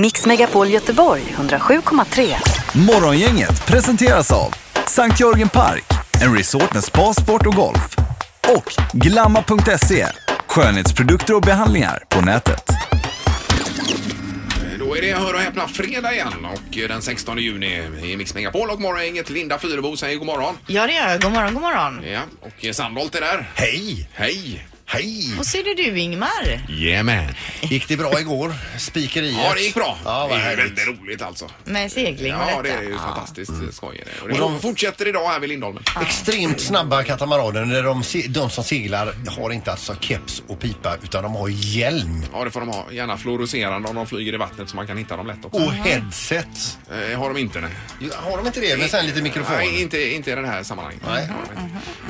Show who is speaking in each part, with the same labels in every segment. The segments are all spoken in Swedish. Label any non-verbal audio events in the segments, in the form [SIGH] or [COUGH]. Speaker 1: Mix Megapol Göteborg 107,3.
Speaker 2: Morgongänget presenteras av Sankt Jörgen Park, en resort med spa, sport och golf. Och Glamma.se, skönhetsprodukter och behandlingar på nätet.
Speaker 3: Då är det Hör och häpna fredag igen och eh, den 16 juni i Mix Megapol och morgongänget Linda Fyrebo säger god morgon.
Speaker 4: Ja det gör jag. God morgon, god morgon.
Speaker 3: Ja, och eh, Sandholt är där.
Speaker 5: Hej!
Speaker 3: Hej! Mm.
Speaker 5: Hej!
Speaker 4: Och så är det du Ingmar.
Speaker 3: Jajamän.
Speaker 5: Gick det bra igår? Spikeriet?
Speaker 3: Ja, det gick bra.
Speaker 5: Ja,
Speaker 3: det
Speaker 5: vad
Speaker 3: är väldigt
Speaker 5: härligt.
Speaker 3: roligt alltså.
Speaker 4: Med segling och
Speaker 3: Ja, det
Speaker 4: detta.
Speaker 3: är ju fantastiskt skoj. är det. Och det
Speaker 5: Och de-
Speaker 3: fortsätter idag här vid Lindholmen.
Speaker 5: Extremt snabba katamaraner där de, se- de som seglar har inte alltså keps och pipa utan de har hjälm
Speaker 3: Ja, det får de ha. Gärna fluorescerande om de flyger i vattnet så man kan hitta dem lätt också.
Speaker 5: och headset.
Speaker 3: Eh, har de inte, nej.
Speaker 5: Har de inte det? Men sen lite mikrofon.
Speaker 3: Nej, inte, inte i det här sammanhanget.
Speaker 5: Nej.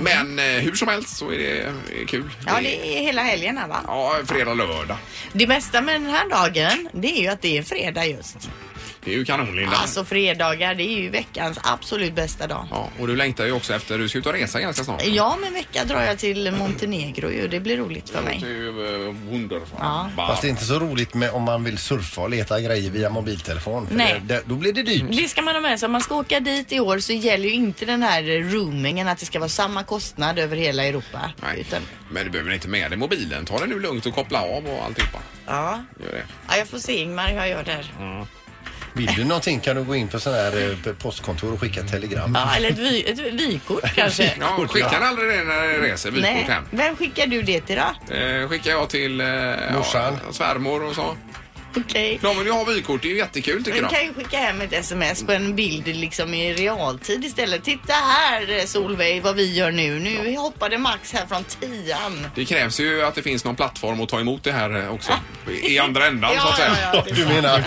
Speaker 3: Men eh, hur som helst så är det eh, kul.
Speaker 4: Ja, det är hela helgen här va?
Speaker 3: Ja, fredag, lördag.
Speaker 4: Det bästa med den här dagen, det är ju att det är fredag just.
Speaker 3: Det är ju kanon, Linda.
Speaker 4: Alltså fredagar, det är ju veckans absolut bästa dag.
Speaker 3: Ja, och du längtar ju också efter, du ska ut och resa ganska snart.
Speaker 4: Ja, men vecka drar jag till Montenegro ju. Det blir roligt för
Speaker 3: Det är
Speaker 4: mig.
Speaker 3: ju eh, wunderbar.
Speaker 4: Ja.
Speaker 5: Fast det är inte så roligt med om man vill surfa och leta grejer via mobiltelefon. För
Speaker 4: Nej.
Speaker 5: Det, det, då blir det dyrt.
Speaker 4: Det ska man ha med sig. Om man ska åka dit i år så gäller ju inte den här roomingen att det ska vara samma kostnad över hela Europa.
Speaker 3: Nej,
Speaker 4: Utan,
Speaker 3: men du behöver inte med dig mobilen. Ta det nu lugnt och koppla av och alltihopa.
Speaker 4: ja.
Speaker 3: Gör det.
Speaker 4: ja, jag får se Ingmar hur jag gör där.
Speaker 3: Mm.
Speaker 5: Vill du någonting kan du gå in på sån här eh, postkontor och skicka ett telegram.
Speaker 4: Ja, eller ett, vy, ett vykort kanske.
Speaker 3: Ja, skicka aldrig det när det reser, vykort
Speaker 4: Nej.
Speaker 3: hem.
Speaker 4: Vem skickar du det till då?
Speaker 3: Eh, skickar jag till eh,
Speaker 5: Morsan.
Speaker 3: ja, svärmor och så.
Speaker 4: Okej.
Speaker 3: De vill ju ha vykort, det är ju jättekul tycker
Speaker 4: Du
Speaker 3: de.
Speaker 4: kan ju skicka hem ett sms på en bild liksom i realtid istället. Titta här eh, Solveig vad vi gör nu. Nu hoppade Max här från tian.
Speaker 3: Det krävs ju att det finns någon plattform att ta emot det här eh, också. I andra ändan så att säga.
Speaker 4: Ah. Ja, ja,
Speaker 5: [LAUGHS] Du menar,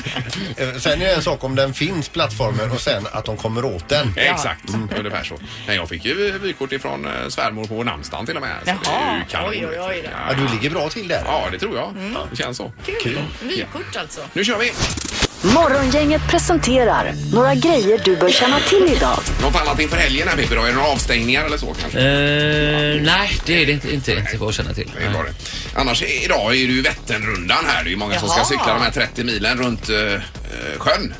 Speaker 5: eh, sen är det en sak om den finns plattformen och sen att de kommer åt den.
Speaker 3: Eh, Exakt,
Speaker 5: Mm.
Speaker 3: ungefär så. Nej, jag fick ju vykort ifrån eh, svärmor på namnsdagen till och med. Så det är ju
Speaker 4: Jaha,
Speaker 3: kanon.
Speaker 4: oj, oj, oj då.
Speaker 5: Ja, du ligger bra till där.
Speaker 3: Ja, det tror jag.
Speaker 4: Mm.
Speaker 3: Det känns så.
Speaker 4: Kul. Vykort alltså.
Speaker 3: Nu kör vi!
Speaker 1: Morgongänget presenterar några grejer du bör känna till idag.
Speaker 3: Något annat inför helgen här Pippi då? Är det några avstängningar eller så kanske?
Speaker 6: Eh, nej, det är det inte, inte, inte vad jag känner till.
Speaker 3: Det är bra det. Annars i- idag är det ju Vätternrundan här. Det är ju många som ska
Speaker 4: Jaha.
Speaker 3: cykla de här 30 milen runt eh, eh, sjön.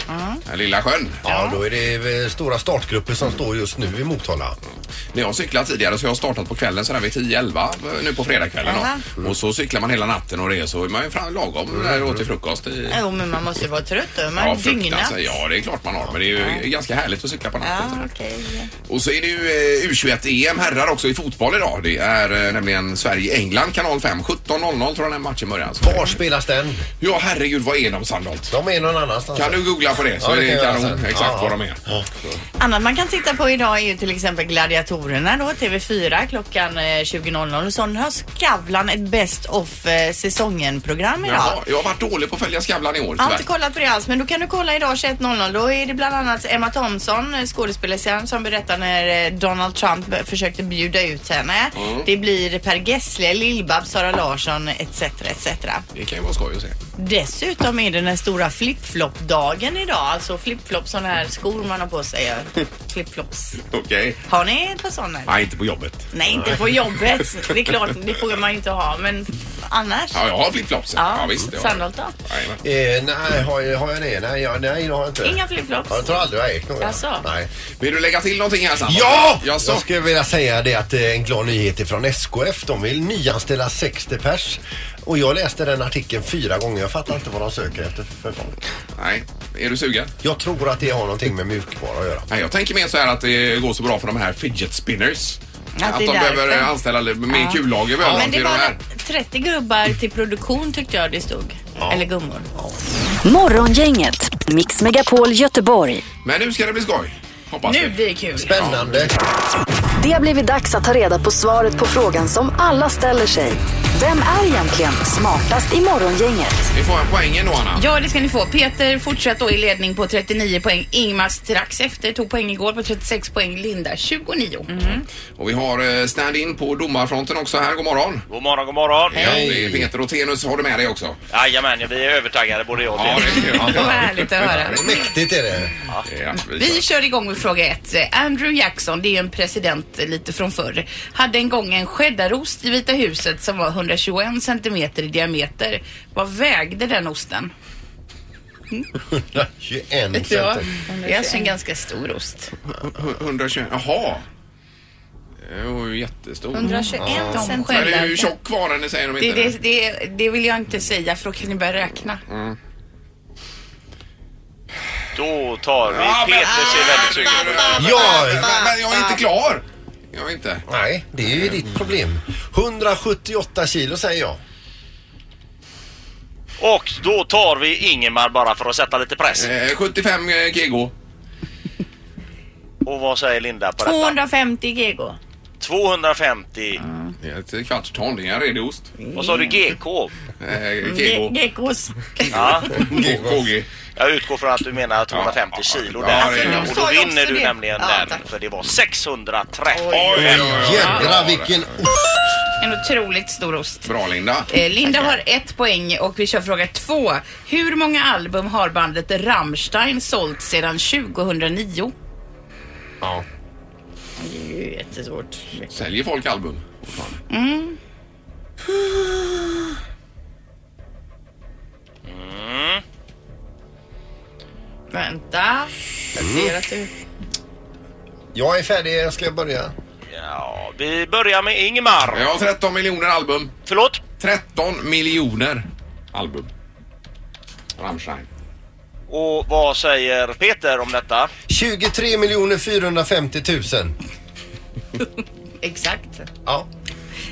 Speaker 3: Den lilla sjön.
Speaker 5: Ja, då är det eh, stora startgrupper som står just nu i Motala.
Speaker 3: När jag cyklar tidigare så har jag startat på kvällen sådär vid 10-11 eh, nu på fredagskvällen
Speaker 4: Jaha. Mm.
Speaker 3: då. Mm. Och så cyklar man hela natten och det är så är man ju fram lagom där och åt till frukost. I,
Speaker 4: Jo men man måste ju vara trött då. Man
Speaker 3: ja,
Speaker 4: ja,
Speaker 3: fruktansvärt.
Speaker 4: dygnar.
Speaker 3: Ja, det är klart man har. Men det är ju ganska härligt att cykla på natten.
Speaker 4: Ja,
Speaker 3: sådär.
Speaker 4: okej.
Speaker 3: Och så är det ju eh, U21-EM herrar också i fotboll idag. Det är eh, nämligen Sverige-England, kanal 5. 17.00 tror jag den matchen börjar. Så-
Speaker 5: Var spelas den?
Speaker 3: Ja, herregud, vad är de Sandholt?
Speaker 5: De är någon annanstans.
Speaker 3: Kan du googla på det så
Speaker 5: Ja, det
Speaker 3: är det
Speaker 5: kan jag
Speaker 3: kanon
Speaker 5: göra sen.
Speaker 3: exakt
Speaker 5: Ja,
Speaker 3: vad
Speaker 5: ja.
Speaker 3: de är.
Speaker 4: Annat man kan titta på idag är ju till exempel Gladiatorerna då, TV4 klockan eh, 20.00 och så har Skavlan ett Best of eh, säsongen-program idag.
Speaker 3: Jaha, jag har varit dålig på att följa Skavlan i år
Speaker 4: Jag har inte
Speaker 3: tyvärr.
Speaker 4: kollat på det alls men då kan du kolla idag 21.00. Då är det bland annat Emma Thompson, eh, skådespelerskan som berättar när eh, Donald Trump eh, försökte bjuda ut henne.
Speaker 3: Mm.
Speaker 4: Det blir Per Gessle, Lill-Babs, Sara Larsson etc. etc.
Speaker 3: Det kan ju vara skoj att se.
Speaker 4: Dessutom är det den stora flip-flop-dagen idag. Alltså flip-flop sådana här skor man har på sig.
Speaker 3: [LAUGHS]
Speaker 4: eh, Flip-flops.
Speaker 3: Okej.
Speaker 4: Har ni ett par sådana?
Speaker 3: Nej, inte på jobbet.
Speaker 4: Nej, inte på jobbet. Det är klart, det får man ju inte ha. Men annars.
Speaker 3: Ja, jag har flipflops. Ja, visst. det har jag.
Speaker 4: Sandholt då?
Speaker 3: Jajamän.
Speaker 5: Eh, nej, har jag, har jag det? Nej, jag, nej, det har jag inte.
Speaker 4: Inga flipflops?
Speaker 5: Ja, Jag tror aldrig jag har ägt några.
Speaker 4: Jaså?
Speaker 5: Nej.
Speaker 3: Vill du lägga till någonting här Sandholt?
Speaker 5: Ja!
Speaker 3: Jag
Speaker 5: Jag skulle vilja säga det att eh, en glad nyhet ifrån SKF. De vill nyanställa 60 pers. Och jag läste den artikeln fyra gånger. Jag fattar inte vad de söker efter för folk.
Speaker 3: Nej, är du sugen?
Speaker 5: Jag tror att det har någonting med mjukvara att göra.
Speaker 3: Nej, jag tänker mer så här att det går så bra för de här fidget spinners.
Speaker 4: det
Speaker 3: Att,
Speaker 4: är
Speaker 3: de
Speaker 4: därför.
Speaker 3: behöver anställa li- mer kullager behöver de
Speaker 4: Men det
Speaker 3: till de här.
Speaker 4: var 30 gubbar till produktion tyckte jag det stod. Eller gummor.
Speaker 1: Morgongänget, Mix Megapol Göteborg.
Speaker 3: Men nu ska det bli skoj. Hoppas
Speaker 4: Nu
Speaker 3: vi.
Speaker 4: blir det kul.
Speaker 5: Spännande.
Speaker 1: Det har blivit dags att ta reda på svaret på frågan som alla ställer sig. Vem är egentligen smartast i morgongänget?
Speaker 3: Vi får en poängen då Anna.
Speaker 4: Ja, det ska ni få. Peter fortsatt då i ledning på 39 poäng. Ingmar strax efter tog poäng igår på 36 poäng. Linda 29.
Speaker 3: Och vi har eh, stand-in på domarfronten också här. God morgon.
Speaker 7: God morgon, god morgon.
Speaker 3: Ja, det är Peter och Tenus har du med dig också.
Speaker 7: Jajamän, vi är övertaggade både jag och
Speaker 3: Ja,
Speaker 7: Peter.
Speaker 3: det är
Speaker 4: Vad härligt att höra.
Speaker 5: Mäktigt är det.
Speaker 3: ja, vi
Speaker 4: Vi
Speaker 3: kör.
Speaker 4: kör igång med fråga ett. Andrew Jackson, det är ju en president lite från förr, hade en gång en cheddarost i Vita huset som var 121 centimeter i diameter. Vad vägde den osten?
Speaker 5: 121
Speaker 4: Ja,
Speaker 5: centimeter.
Speaker 4: det är alltså en ganska stor ost.
Speaker 3: Hu- 121, jaha. Det var ju jättestor.
Speaker 4: 121
Speaker 3: Men det
Speaker 4: centimeter.
Speaker 3: är ju tjock kvarnen säger de
Speaker 4: Det,
Speaker 3: inte.
Speaker 4: det, det, det vill jag inte säga för då kan ni börja räkna.
Speaker 7: Då tar vi
Speaker 3: Ja, men-
Speaker 7: Peter ser väldigt sugen ut.
Speaker 5: Ja,
Speaker 3: Men, men jag är inte klar. Jag är inte.
Speaker 5: nej, det är ju ditt problem. 178 kilo säger jag.
Speaker 7: Och då tar vi Ingemar bara för att sätta lite press.
Speaker 3: Eh, 75 eh, kg.
Speaker 7: Och vad säger Linda på detta?
Speaker 4: 250 GG.
Speaker 7: 250.
Speaker 3: Det är ett kvarts ton, det är en redig ost.
Speaker 7: Vad sa du GK?
Speaker 3: Eh,
Speaker 4: Ge-
Speaker 3: kg.
Speaker 4: Gekos. [LAUGHS]
Speaker 7: Ja,
Speaker 3: KG.
Speaker 7: jag utgår från att du menar 250
Speaker 3: Ja,
Speaker 7: kilo
Speaker 3: ja,
Speaker 7: där.
Speaker 3: ja, det är-
Speaker 7: och
Speaker 4: Alltså, Sa
Speaker 7: då
Speaker 4: jag också
Speaker 7: vinner du
Speaker 4: det?
Speaker 7: nämligen
Speaker 4: Ja,
Speaker 7: den.
Speaker 4: tack.
Speaker 7: För det var 630.
Speaker 5: Jädrar vilken ost!
Speaker 4: En otroligt stor ost.
Speaker 3: Bra Linda.
Speaker 4: Eh, Linda har ett poäng och vi kör fråga två. Hur många album har bandet Rammstein sålt sedan 2009?
Speaker 3: Ja.
Speaker 4: Det är ju jättesvårt.
Speaker 3: Säljer folk album?
Speaker 4: Vänta. Jag ser att du...
Speaker 5: Jag är färdig, ska jag börja?
Speaker 7: Ja, vi börjar med Ingemar.
Speaker 3: Ja, 13 miljoner album.
Speaker 7: Förlåt?
Speaker 3: 13 miljoner album. Rammstein.
Speaker 7: Och vad säger Peter om detta?
Speaker 5: 23 miljoner 450 000.
Speaker 4: Exakt.
Speaker 5: Ja.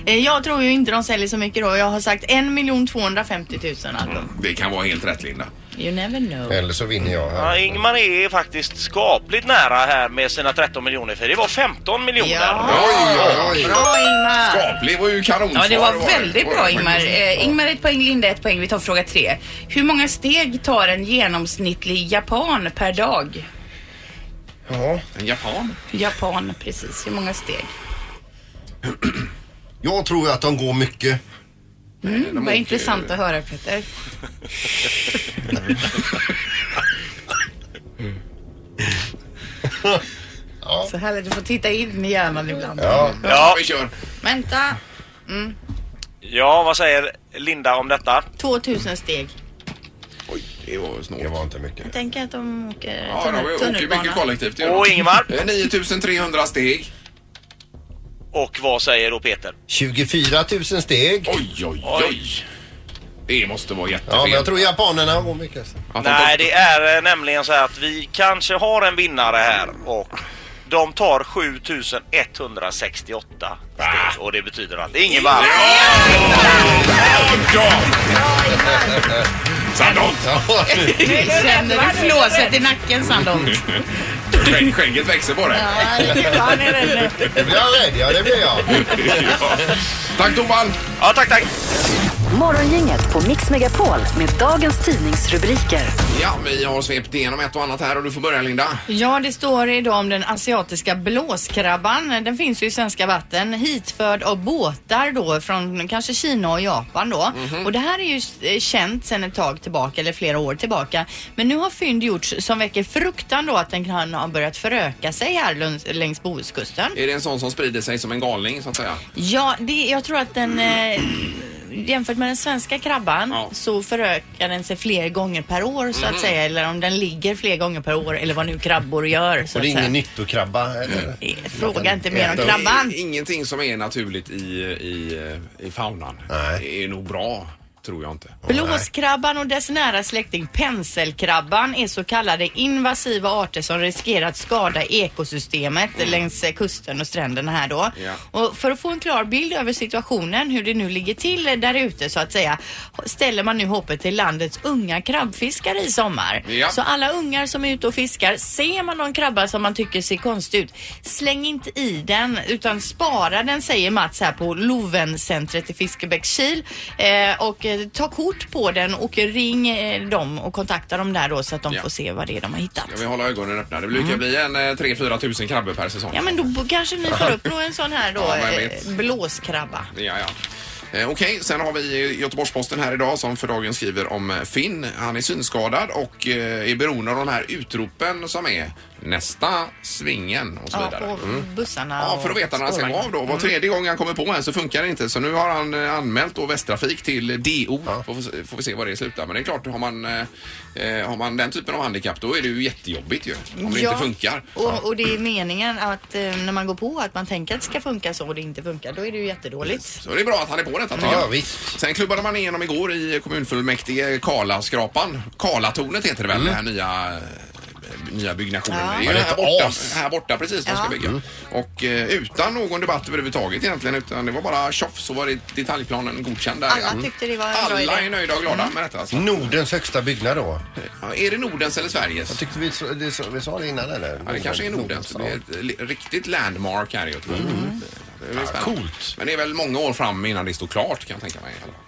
Speaker 4: Eh, Jag tror ju inte de säljer så mycket då. Jag har sagt 1 250 000 album.
Speaker 3: Det kan vara helt rätt Linda.
Speaker 4: You never know.
Speaker 5: Eller så vinner jag
Speaker 7: Ja,
Speaker 5: här.
Speaker 7: Ingmar är faktiskt skapligt nära här med sina 13 miljoner för det var 15 miljoner.
Speaker 4: Ja.
Speaker 3: Oj, oj, oj.
Speaker 4: Ah, Bra Ingmar!
Speaker 3: Skaplig var ju kanonsvar.
Speaker 4: Ja, det var
Speaker 3: det.
Speaker 4: väldigt bra Ingmar. Eh, Ingmar ett poäng, Linda ett poäng. Vi tar fråga tre. Hur många steg tar en genomsnittlig japan per dag?
Speaker 5: Ja.
Speaker 3: En japan?
Speaker 4: Japan, precis. Hur många steg?
Speaker 5: Jag tror att de går mycket.
Speaker 3: De
Speaker 4: Mm, Vad
Speaker 3: åker-
Speaker 4: intressant att höra Peter. Så härligt, du får titta in i hjärnan ibland.
Speaker 7: Ja,
Speaker 3: Vi kör.
Speaker 4: Vänta,
Speaker 7: ja, vad säger Linda om detta?
Speaker 4: 2000 steg.
Speaker 3: Oj, det var snålt.
Speaker 5: Det var inte mycket.
Speaker 4: Tänk att de åker
Speaker 3: Ja, de åker ju mycket kollektivt. det gör
Speaker 7: Och
Speaker 3: de.
Speaker 7: Ingemar.
Speaker 3: Eh, 9300 steg.
Speaker 7: Och vad säger då Peter?
Speaker 5: 24 000 steg.
Speaker 3: Oj, oj, oj. Det måste vara jättefel.
Speaker 5: Ja, men jag tror japanerna går mycket.
Speaker 3: Att de
Speaker 7: Nej,
Speaker 3: tar-
Speaker 7: det är eh, nämligen så här att vi kanske har en vinnare här och de tar 7168 steg och det betyder att Ingemar...
Speaker 3: Ja! Sandholt!
Speaker 4: Känner du flåset i nacken Sandholt?
Speaker 3: Skägg- Skägget växer på dig.
Speaker 5: Det blir jag rädd, ja det blir jag.
Speaker 3: Ja. Tack domaren!
Speaker 7: Ja, tack, tack!
Speaker 1: Morgongänget på Mix Megapol med dagens tidningsrubriker.
Speaker 3: Ja, vi har svept igenom ett och annat här och du får börja Linda.
Speaker 4: Ja, det står idag om den asiatiska blåskrabban. Den finns ju i svenska vatten, hitförd av båtar då från kanske Kina och Japan då.
Speaker 5: Mhm.
Speaker 4: Och det här är ju eh, känt sedan ett tag tillbaka, eller flera år tillbaka. Men nu har fynd gjorts som väcker fruktan då att den kan ha börjat föröka sig här längs- längs Bohuskusten.
Speaker 3: Är det en sån som sprider sig som en galning så att säga?
Speaker 4: Ja, det, jag tror att den eh, jämfört med den svenska krabban
Speaker 3: Ja.
Speaker 4: så förökar den sig fler gånger per år så
Speaker 5: Mhm.
Speaker 4: att säga. Eller om den ligger fler gånger per år eller vad nu krabbor gör. Så
Speaker 5: Och
Speaker 4: att
Speaker 5: det är
Speaker 4: säga.
Speaker 5: ingen nyttokrabba eller?
Speaker 4: Eh, Fråga inte mer om
Speaker 5: Äta upp.
Speaker 4: krabban.
Speaker 3: Det är Ingenting som är naturligt i, i, i faunan.
Speaker 5: Nej.
Speaker 3: Det är nog bra, tror jag inte.
Speaker 4: Blåskrabban och dess nära släkting penselkrabban är så kallade invasiva arter som riskerar att skada ekosystemet längs eh, kusten och stränderna här då.
Speaker 3: Ja.
Speaker 4: Och för att få en klar bild över situationen, hur det nu ligger till eh, där ute så att säga, ställer man nu hoppet till landets unga krabbfiskare i sommar.
Speaker 3: Ja.
Speaker 4: Så alla ungar som är ute och fiskar, ser man någon krabba som man tycker ser konstig ut, släng inte i den utan spara den säger Mats här på Lovencentret i Fiskebäckskil. Eh, och eh, ta kort på den och ring eh, dem och kontakta dem där då så att de
Speaker 3: Ja.
Speaker 4: får se vad det är de har hittat.
Speaker 3: Jag vill hålla ögonen öppna. Det brukar bli en eh, 3-4 tusen krabbor per säsong. [LAUGHS]
Speaker 4: Ja men då b- kanske ni får upp någon en sån här då,
Speaker 3: Ja, vem
Speaker 4: eh,
Speaker 3: vet.
Speaker 4: blåskrabba.
Speaker 3: Ja, ja. Eh, Okej, sen har vi Göteborgs-Posten här idag som för dagen skriver om eh, Finn. Han är synskadad och eh, är beroende av de här utropen som är nästa svingen och så
Speaker 4: Ja,
Speaker 3: vidare. Mm.
Speaker 4: på bussarna
Speaker 3: Ja, för att veta när han ska gå av då. Var tredje gång han kommer på en så funkar det inte. Så nu har han eh, anmält då Västtrafik till DO. Får, vi se- får vi se var det slutar. Men det är klart, har man, eh, eh, har man den typen av handikapp då är det ju jättejobbigt ju. Om det inte funkar.
Speaker 4: Och, och det är meningen att eh, när man går på att man tänker att det ska funka så och det inte funkar, då är det ju jättedåligt.
Speaker 3: Så det är bra att han är på detta tycker
Speaker 5: Ja,
Speaker 3: jag.
Speaker 5: visst.
Speaker 3: Sen klubbade man igenom igår i kommunfullmäktige Karlaskrapan. Karlatornet heter det väl, den här nya eh, nya byggnationen.
Speaker 4: Ja.
Speaker 3: Det är
Speaker 5: Mm. Ja,
Speaker 3: ju
Speaker 5: det
Speaker 3: här
Speaker 5: är
Speaker 3: borta,
Speaker 5: as. Mm.
Speaker 3: här borta precis de ska
Speaker 4: Ja.
Speaker 3: bygga. Och eh, utan någon debatt överhuvudtaget egentligen utan det var bara tjoff så var det detaljplanen godkänd där.
Speaker 4: Alla
Speaker 3: ja.
Speaker 4: tyckte det var en bra
Speaker 3: Alla är
Speaker 4: idé. Mm.
Speaker 3: nöjda och glada med detta. Alltså.
Speaker 5: Nordens högsta byggnad då.
Speaker 3: Ja, Är det Nordens eller Sveriges?
Speaker 5: Jag tyckte vi, så- det, så- vi sa det innan eller?
Speaker 3: Ja, det kanske är Nordens. Det är
Speaker 5: ja.
Speaker 3: ett li- riktigt landmark här i Göteborg. Det är väl spännande.
Speaker 5: Mm. coolt.
Speaker 3: Men det är väl många år fram innan det står klart kan jag tänka mig. i alla fall.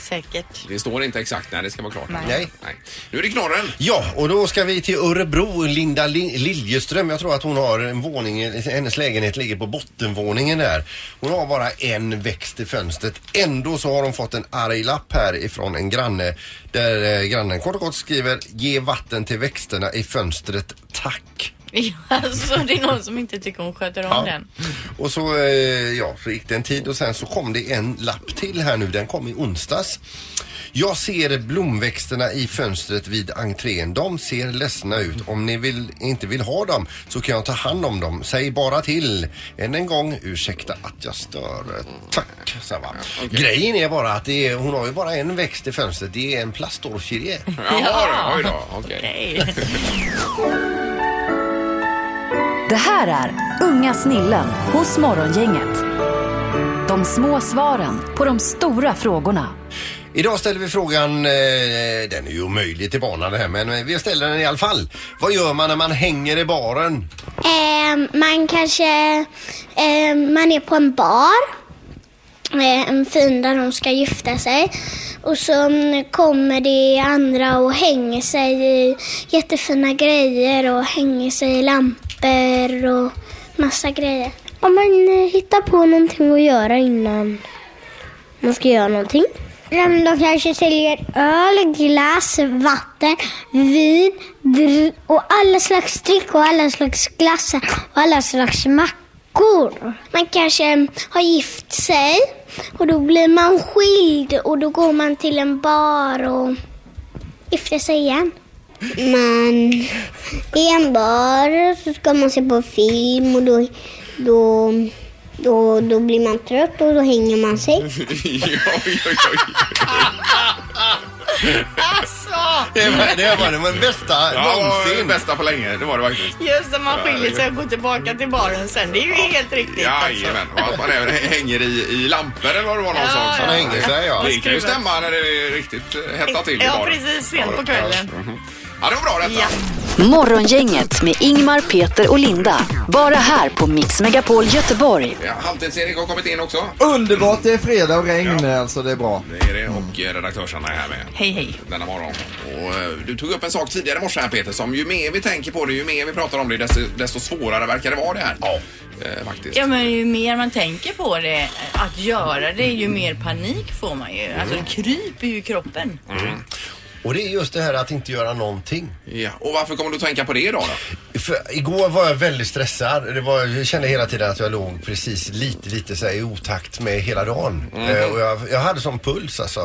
Speaker 4: Säkert. [LAUGHS]
Speaker 3: Det står inte exakt när det ska vara klart.
Speaker 4: Nej.
Speaker 5: Nej.
Speaker 3: Nu är det knorren.
Speaker 5: Ja, och då ska vi till Örebro. Linda Li- Liljeström, jag tror att hon har en våning, hennes lägenhet ligger på bottenvåningen där. Hon har bara en växt i fönstret. Ändå så har hon fått en arg lapp här ifrån en granne där eh, grannen kort och gott skriver ge vatten till växterna i fönstret, tack.
Speaker 4: alltså, det är någon som inte tycker hon sköter om den.
Speaker 5: Och så, eh, ja, så gick det en tid och sen så kom det en lapp till här nu. Den kom i onsdags. Jag ser blomväxterna i fönstret vid entrén. De ser ledsna ut. Om ni vill, inte vill ha dem så kan jag ta hand om dem. Säg bara till. Än en gång, ursäkta att jag stör. Tack, så va. Grejen är bara att det är, hon har ju bara en växt i fönstret. Det är en plastorkidé.
Speaker 3: Jaha, ja. oj då. Okej.
Speaker 4: Nej.
Speaker 1: Det här är Unga snillen hos Morgongänget. De små svaren på de stora frågorna.
Speaker 5: Idag ställer vi frågan, eh, den är ju omöjlig till banan det här men eh, vi ställer den i alla fall. Vad gör man när man hänger i baren?
Speaker 8: Ehm, man kanske ehm, man är på en bar. eh, En fin där de ska gifta sig. Och så mm, kommer det andra och hänger sig i jättefina grejer och hänger sig i lampor och massa grejer. Om man eh, hittar på någonting att göra innan man ska göra någonting. Mm, De kanske säljer öl, glass, vatten, vin dr- och alla slags dryck och alla slags glassar och alla slags mackor. Man kanske mm, har gift sig och då blir man skild och då går man till en bar och gifter sig igen. Man, I en bar så ska man se på film och då, då, då, då blir man trött och då hänger man sig.
Speaker 3: Oj, oj, oj, oj.
Speaker 4: Alltså!
Speaker 5: Det var, [LAUGHS] det var den bästa
Speaker 3: Ja, det var det
Speaker 5: någonsin.
Speaker 3: bästa på länge. Det var det faktiskt.
Speaker 4: Just när man skiljer sig och går tillbaka till baren sen. Det är ju helt riktigt. alltså.
Speaker 3: Jajamän. Och att man även hänger i, i lampor eller vad det var någon
Speaker 4: Ja,
Speaker 3: sa också.
Speaker 4: ja.
Speaker 5: Han hängde sig ja.
Speaker 3: Det kan ju stämma när det är riktigt eh, hettar till i
Speaker 4: Ja,
Speaker 3: baren.
Speaker 4: precis. Sent på kvällen.
Speaker 3: Ja, det var bra detta.
Speaker 4: Ja.
Speaker 1: Morgongänget med Ingmar, Peter och Linda. Bara här på Mix Megapol Göteborg.
Speaker 3: Ja, Halvtids-Erik har kommit in också.
Speaker 9: Underbart, det är fredag och regn alltså, det är bra.
Speaker 3: Det är det och eh, redaktörs-Anna är här med.
Speaker 4: Hej, hej.
Speaker 3: Denna morgon. Och, eh, du tog upp en sak tidigare i morse här Peter som ju mer vi tänker på det, ju mer vi pratar om det, desto, desto svårare verkar det vara det här. Ja. Eh, faktiskt.
Speaker 4: Ja, men ju mer man tänker på det, att göra det, ju mer panik får man ju. Alltså,
Speaker 3: Mm.
Speaker 4: det kryper ju i kroppen.
Speaker 5: Och det är just det här att inte göra någonting.
Speaker 3: Ja, och varför kommer du att tänka på det idag då?
Speaker 5: För igår var jag väldigt stressad. Det var, jag kände hela tiden att jag låg precis lite, lite så här i otakt med hela dagen. Eh, och jag, jag hade sån puls alltså.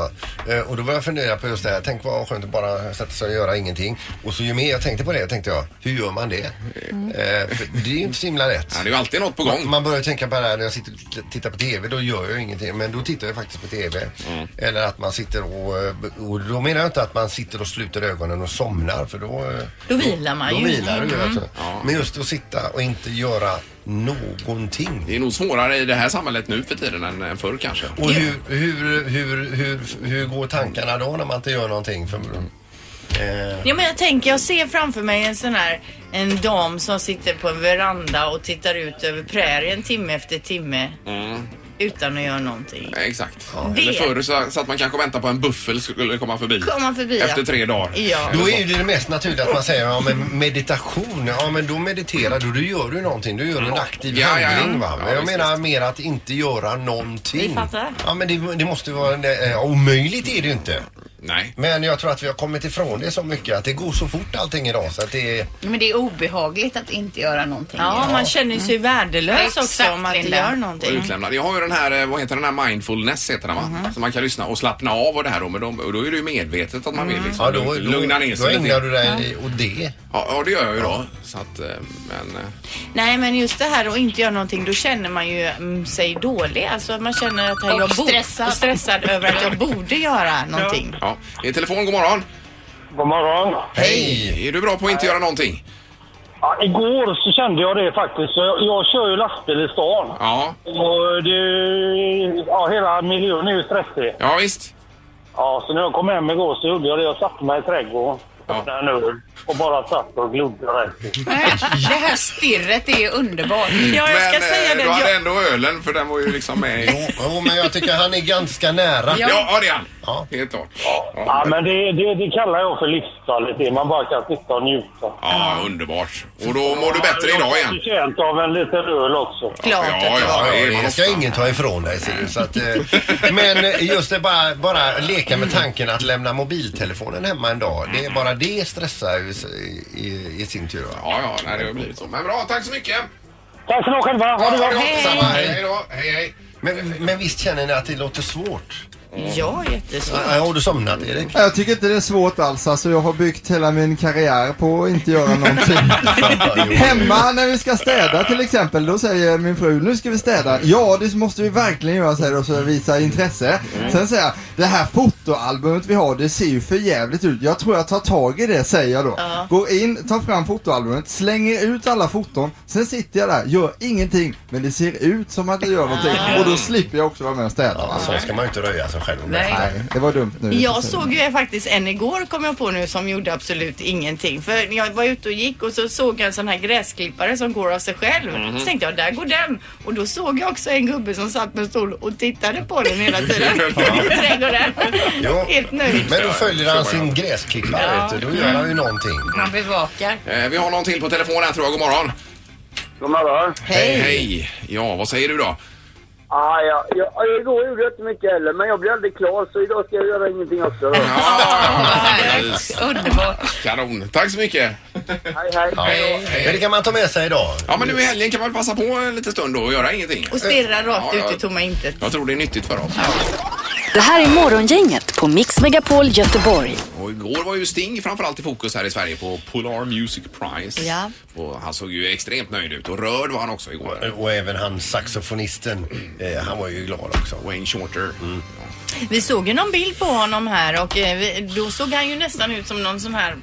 Speaker 5: Eh, och då började jag fundera på just det här. Tänk vad skönt att bara sätta sig och göra ingenting. Och så ju mer jag tänkte på det tänkte jag, hur gör man det? Eh, för det är ju inte så himla lätt.
Speaker 3: Ja, det är ju alltid något på gång.
Speaker 5: Man börjar tänka på det här när jag sitter och titt- tittar på TV, då gör jag ingenting. Men då tittar jag faktiskt på TV. Eller att man sitter och, eh, och... Då menar jag inte att man sitter och sluter ögonen och somnar för då... eh,
Speaker 4: Då vilar man
Speaker 5: då
Speaker 4: ju. Mm.
Speaker 5: vilar du ju. alltså. Men just att sitta och inte göra någonting.
Speaker 3: Det är nog svårare i det här samhället nu för tiden än än förr kanske.
Speaker 5: Och hur, hur, hur, hur, hur går tankarna då när man inte gör någonting? För, eh,
Speaker 4: Ja men jag tänker, jag ser framför mig en sån här en
Speaker 3: Mm.
Speaker 4: dam som sitter på en veranda och tittar ut över prärien timme efter timme. utan att göra någonting.
Speaker 3: Exakt.
Speaker 4: Det-
Speaker 3: Eller förr så, så att man kanske väntar på en buffel skulle komma förbi.
Speaker 4: Komma förbi, ja.
Speaker 3: Efter tre dagar.
Speaker 4: Ja.
Speaker 5: Då är ju det, det mest naturliga att man säger ja, men meditation, ja men då mediterar du, då gör du någonting, du gör en aktiv
Speaker 3: Ja, ja, ja.
Speaker 5: handling va.
Speaker 3: Ja,
Speaker 5: Men jag
Speaker 3: visst,
Speaker 5: menar
Speaker 3: visst.
Speaker 5: mer att inte göra någonting.
Speaker 4: Vi fattar.
Speaker 5: Ja men det, det måste ju vara, en, eh, omöjligt är det ju inte.
Speaker 3: Nej.
Speaker 5: Men jag tror att vi har kommit ifrån det så mycket att det går så fort allting idag så att det är
Speaker 10: Men det är obehagligt att inte göra någonting.
Speaker 4: Ja, man känner sig värdelös också
Speaker 10: Mm. Exakt,
Speaker 4: om man inte
Speaker 10: Linda.
Speaker 4: gör
Speaker 3: Och
Speaker 4: någonting.
Speaker 3: utlämnad. Jag har ju den här, eh, vad heter den här mindfulness heter den va?
Speaker 4: Mhm.
Speaker 3: Så man kan lyssna och slappna av och det här då. Men då, och då är det ju medvetet att man
Speaker 4: Mm.
Speaker 3: vill liksom
Speaker 5: Ja, då, då,
Speaker 3: lugna ner
Speaker 5: Då
Speaker 3: sig
Speaker 5: ägnar
Speaker 3: lite.
Speaker 5: du dig åt det.
Speaker 3: Ja, ja, det gör jag ju då. Så att, eh, men, eh,
Speaker 4: Nej, men just det här att inte göra någonting, då känner man ju mm, sig dålig. Alltså man känner att här,
Speaker 10: Och
Speaker 4: jag bo-
Speaker 10: stressad.
Speaker 4: och stressad över att jag borde göra någonting.
Speaker 3: ja. I telefon, god morgon.
Speaker 7: God morgon.
Speaker 5: Hej!
Speaker 3: Är du bra på att inte göra någonting?
Speaker 7: Ja, igår så kände jag det faktiskt. Jag, jag kör ju lastbil i stan.
Speaker 3: Ja,
Speaker 7: Och det, ja, hela miljön är ju stressig.
Speaker 3: ja visst.
Speaker 7: Ja, så när jag kom hem igår så gjorde jag det. Jag satte mig i trädgården.
Speaker 3: Ja.
Speaker 7: öppnade en öl Och bara satt och glodde rätt.
Speaker 10: [LAUGHS] Det här stirret är underbart.
Speaker 4: Ja, jag ska
Speaker 3: men
Speaker 4: säga
Speaker 3: eh,
Speaker 4: det.
Speaker 3: du hade
Speaker 4: Jag,
Speaker 3: ändå ölen för den var ju liksom med
Speaker 4: [LAUGHS]
Speaker 3: i...
Speaker 5: Jo, men jag tycker han är ganska nära.
Speaker 3: Ja, ja det är han.
Speaker 5: Ja.
Speaker 3: Helt klart.
Speaker 7: Ja, men det, det, det kallar jag för livskvalitet. Man bara kan sitta och njuta.
Speaker 3: Ja, underbart. Och då mår du bättre
Speaker 7: Jag
Speaker 3: idag
Speaker 7: har
Speaker 3: igen?
Speaker 7: förtjänt av en liten öl också.
Speaker 4: klart att
Speaker 3: Ja,
Speaker 4: jag-
Speaker 3: ja, det är
Speaker 5: Ja,
Speaker 3: man
Speaker 5: det ska
Speaker 3: ofta.
Speaker 5: ingen ta ifrån dig ser du. Så att, eh, men eh, just det bara, bara leka med tanken att lämna mobiltelefonen hemma en dag. Det är bara det stressar ju s- i, i, i sin tur. va?
Speaker 3: Ja, ja, nej, det har blivit så. Men bra, tack så mycket.
Speaker 7: Tack så mycket själva. Ha det
Speaker 5: Ja,
Speaker 7: bra.
Speaker 5: det är samma.
Speaker 3: Detsamma.
Speaker 5: Hej.
Speaker 3: Hej då. Hej, hej.
Speaker 5: Men, men visst känner ni att det låter svårt?
Speaker 4: Ja, jättesvårt.
Speaker 5: Ja, Har du somnat Erik? [LAUGHS]
Speaker 9: Jag tycker inte det är svårt alls. Alltså, jag har byggt hela min karriär på att inte göra någonting. Hemma när vi ska städa till exempel, då säger min fru nu ska vi städa. Ja, det måste vi verkligen göra säger jag och så visar jag intresse. Sen säger jag, det här fotoalbumet vi har, det ser ju för jävligt ut. Jag tror jag tar tag i det, säger jag då. Går in, tar fram fotoalbumet, slänger ut alla foton. Sen sitter jag där, gör ingenting, men det ser ut som att jag gör någonting.
Speaker 4: Mm.
Speaker 9: Och då slipper jag också vara med och städa.
Speaker 5: Ja, så ska man ju inte röja sig själv.
Speaker 4: Nej.
Speaker 9: Nej, det var dumt nu.
Speaker 4: Jag såg ju faktiskt en igår kom jag på nu som gjorde absolut ingenting. För jag var ute och gick och så såg jag en sån här gräsklippare som går av sig själv. Så tänkte jag, där går den. Och då såg jag också en gubbe som satt på en stol och tittade på den hela tiden. I trädgården.
Speaker 5: Jo.
Speaker 4: Helt nöjd.
Speaker 5: Men då följer han sin gräsklippare. vet du. Då gör han ju någonting.
Speaker 10: Man bevakar.
Speaker 3: Eh, Vi har någon till på telefonen här tror jag. God morgon.
Speaker 7: God morgon.
Speaker 3: Hej. Hej. Ja, vad säger du då?
Speaker 7: Ah, ja, ja, ja, igår gjorde jag inte mycket heller, men jag blev aldrig klar så idag ska jag göra ingenting också. Då.
Speaker 3: Ja, ja, ja, precis.
Speaker 10: Underbart.
Speaker 3: Kanon. Tack så mycket.
Speaker 7: Hej, hej.
Speaker 5: Ja. Men det kan man ta med sig idag.
Speaker 3: Ja, men nu i helgen kan man väl passa på en liten stund då och göra ingenting.
Speaker 4: Och stirrar rakt
Speaker 3: Ja,
Speaker 4: ut
Speaker 3: ja.
Speaker 4: i tomma intet.
Speaker 3: Jag tror det är nyttigt för oss.
Speaker 1: Det här är Morgongänget på Mix Megapol Göteborg.
Speaker 3: Och igår var ju Sting framförallt i fokus här i Sverige på Polar Music Prize.
Speaker 4: Ja.
Speaker 3: Och han såg ju extremt nöjd ut och rörd var han också igår.
Speaker 5: Och även han saxofonisten, eh, han var ju glad också.
Speaker 3: Wayne Shorter.
Speaker 4: Vi såg ju någon bild på honom här och eh, vi, då såg han ju nästan ut som någon sån här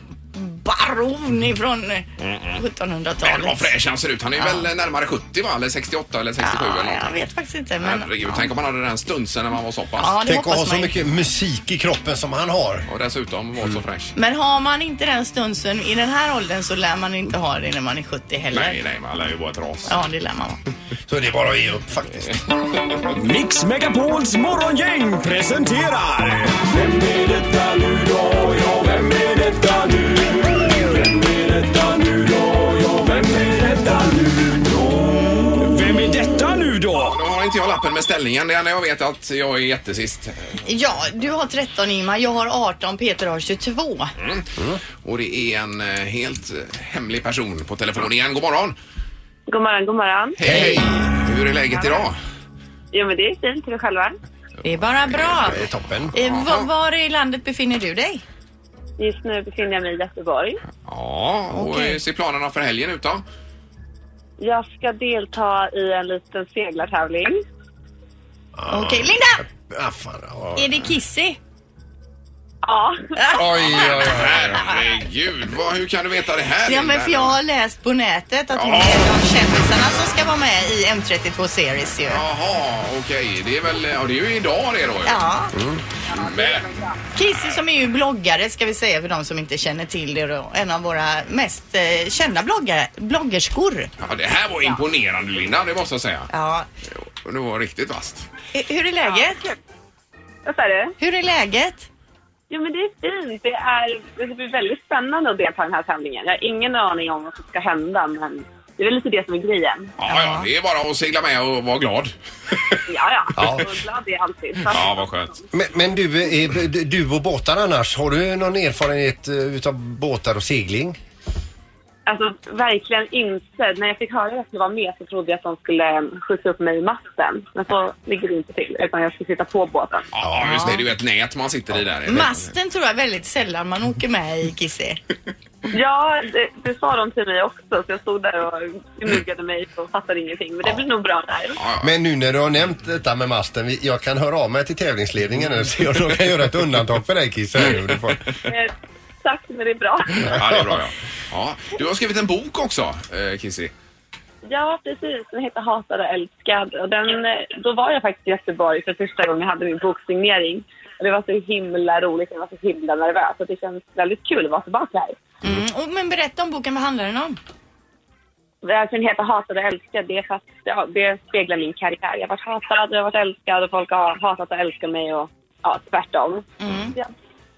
Speaker 4: baron ifrån eh,
Speaker 3: Men vad
Speaker 4: 1700-talet.
Speaker 3: fräsch han ser ut. Han är väl närmare 70 va? Eller 68 eller 67 eller
Speaker 4: Ja, Ah, jag
Speaker 3: någonting.
Speaker 4: vet faktiskt inte. Men,
Speaker 3: Herregud, tänk om han hade den stunsen när man var så pass.
Speaker 4: ja, det
Speaker 5: Tänk att ha
Speaker 4: hoppas
Speaker 5: så
Speaker 4: man ju.
Speaker 5: mycket musik i kroppen som han har.
Speaker 3: Och dessutom var så fräsch.
Speaker 4: Men har man inte den stunsen i den här åldern så lär man inte ha det när man är 70 heller.
Speaker 3: Nej, nej, man lär ju bara ett ras.
Speaker 4: Ja, det lär man vara.
Speaker 5: Så det är bara att ge upp faktiskt.
Speaker 4: Mm.
Speaker 11: Mix Megapols morgongäng presenterar... Vem är detta nu då? Ja, vem är detta nu? Vem är detta nu då? Ja, vem är detta nu då? Vem är detta nu då?
Speaker 3: Nu har inte jag lappen med ställningen. Det enda jag vet är att jag är jättesist.
Speaker 4: Ja, du har 13 Ingmar, jag har 18, Peter har 22.
Speaker 3: Mm. Och det är en eh, helt eh, hemlig person på telefon igen. God morgon!
Speaker 7: God morgon, god morgon.
Speaker 3: Hej! Hur är läget idag?
Speaker 7: Jo, men det är fint. Hur själva?
Speaker 4: Det är bara bra.
Speaker 5: Det är toppen.
Speaker 4: Eh, var, var i landet befinner du dig?
Speaker 7: Just nu befinner jag mig i Göteborg.
Speaker 3: Ja, och
Speaker 4: Okej.
Speaker 3: hur ser planerna för helgen ut då?
Speaker 7: Jag ska delta i en liten seglartävling.
Speaker 4: Okej, Linda!
Speaker 5: Ah, fan, ja.
Speaker 4: Är det Kissy?
Speaker 7: Ja.
Speaker 5: Oj, oj, oj.
Speaker 3: Herregud, vad, hur kan du veta det här?
Speaker 4: Ja, men
Speaker 3: Linda?
Speaker 4: för jag har läst på nätet att hon
Speaker 3: Ja.
Speaker 4: är de kändisarna som ska vara med i M32 Series ju.
Speaker 3: Jaha, okej. Det är väl, ja det är ju idag det då ju.
Speaker 4: Ja,
Speaker 3: Men,
Speaker 4: Kissy som är ju bloggare ska vi säga för de som inte känner till det då. En av våra mest eh, kända bloggare, bloggerskor.
Speaker 3: ja, det här var imponerande Linda, det måste jag säga.
Speaker 4: Ja,
Speaker 3: Och det var riktigt vasst.
Speaker 4: Eh, Hur är läget?
Speaker 12: Vad sa du?
Speaker 4: Hur är läget?
Speaker 12: Jo, men det är fint. Det, är, det blir väldigt spännande att delta i den här tävlingen. Jag har ingen aning om vad som ska hända, men det är väl lite det som är grejen.
Speaker 3: Ja, ja, det är bara att segla med och vara glad.
Speaker 12: Ja, ja.
Speaker 5: Ja.
Speaker 12: Och glad är jag alltid. Så-
Speaker 3: Ja, vad skönt.
Speaker 5: Men, men du, eh, eh, du- du och båtar annars, har du någon erfarenhet eh, utav båtar och segling?
Speaker 12: Alltså, verkligen inte. När jag fick höra att jag skulle vara med så trodde jag att de skulle skjutsa upp mig i masten. Men så ligger det inte till, utan jag ska sitta på båten.
Speaker 3: Ja, just det. Det är ju ett nät man sitter i
Speaker 4: Mm.
Speaker 3: där.
Speaker 4: Masten tror jag väldigt sällan man åker med i Kissy.
Speaker 12: Ja, det, det sa de till mig också, så jag stod där och gnuggade mig och fattade ingenting. Men det blir nog bra där.
Speaker 5: Men nu när du har nämnt detta med masten, vi- jag kan höra av mig till tävlingsledningen nu så jag då kan göra ett undantag för dig Kiss. här nu. Du får-
Speaker 12: Eh, Tack, men det är bra.
Speaker 3: Ja, det är bra ja. ja. Du har skrivit en bok också, eh, Kissy.
Speaker 12: Ja, precis. Den heter Hatad och älskad. Och den, eh, då var jag faktiskt i Göteborg för första gången jag hade min boksignering. Och det var så himla roligt, jag var så himla nervös. Och det känns väldigt kul att vara tillbaka här.
Speaker 4: Mm. Och, men berätta om boken, vad handlar den om?
Speaker 12: Varför den heter Hatad och älskad, det är för att ja, det speglar min karriär. Jag har varit hatad, jag har varit älskad och folk har hatat och älskat mig och ja, tvärtom.
Speaker 4: Mm.
Speaker 12: Jag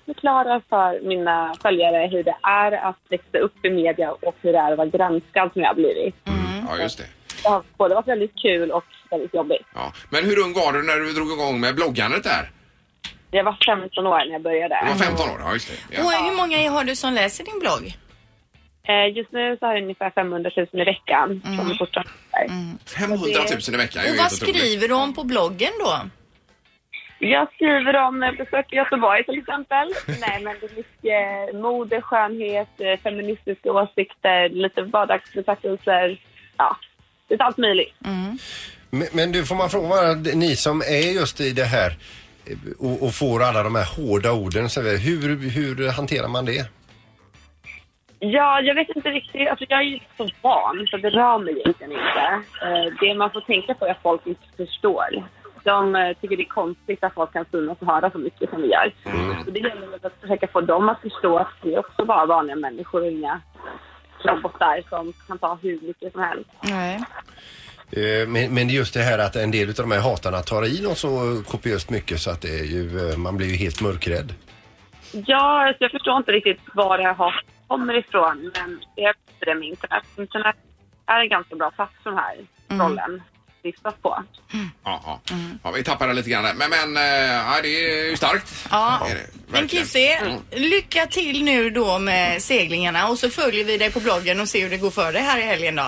Speaker 12: förklarar för mina följare hur det är att växa upp i media och hur det är att vara granskad som jag har blivit.
Speaker 4: Mm.
Speaker 3: Ja, just det.
Speaker 12: Det har både varit väldigt kul och väldigt jobbigt.
Speaker 3: Ja. Men hur ung var du när du drog igång med bloggandet där?
Speaker 12: Jag var 15 år när jag började.
Speaker 3: Du var 15 år, ja just det.
Speaker 4: Och eh,
Speaker 3: Ja.
Speaker 4: hur många har du som läser din blogg?
Speaker 12: Eh, Just nu så har jag ungefär 500 000 i veckan.
Speaker 3: Mm.
Speaker 12: som är fortfarande där.
Speaker 3: 500 000 i veckan, det
Speaker 4: Och
Speaker 3: är ju
Speaker 4: vad
Speaker 3: helt otroligt.
Speaker 4: skriver du om på bloggen då?
Speaker 12: Jag skriver om eh, besök i Göteborg till exempel.
Speaker 3: [LAUGHS]
Speaker 12: Nej, men det är mycket mode, skönhet, eh, feministiska åsikter, lite vardagsbetraktelser. Ja, lite allt möjligt.
Speaker 5: Men, men du, får man fråga bara, ni som är just i det här eh, och, och får alla de här hårda orden, så vidare, hur, hur hanterar man det?
Speaker 12: Ja, jag vet inte riktigt. Alltså, jag är ju så van, så det rör mig egentligen inte. Eh, Det man får tänka på är att folk inte förstår. De eh, tycker det är konstigt att folk kan synas och höra så mycket som vi gör. Så det gäller väl att försöka få dem att förstå att vi är också bara vanliga människor och inga robotar som kan ta hur mycket som helst.
Speaker 4: Nej.
Speaker 5: Eh, Men, men det är just det här att en del av de här hatarna tar i något så kopiöst mycket så att det är ju, eh, man blir ju helt mörkrädd.
Speaker 12: Ja, alltså, jag förstår inte riktigt var det här kommer ifrån, men det är det med internet. Internet är en ganska bra plattform här, rollen vistas på.
Speaker 3: Ja, ja. ja, vi tappade lite grann där. Men, men eh, ja, det är ju starkt.
Speaker 4: Ja.
Speaker 3: Är det,
Speaker 4: Men
Speaker 3: verkligen.
Speaker 4: Kissy, lycka till nu då med seglingarna och så följer vi dig på bloggen och ser hur det går för dig här i helgen då.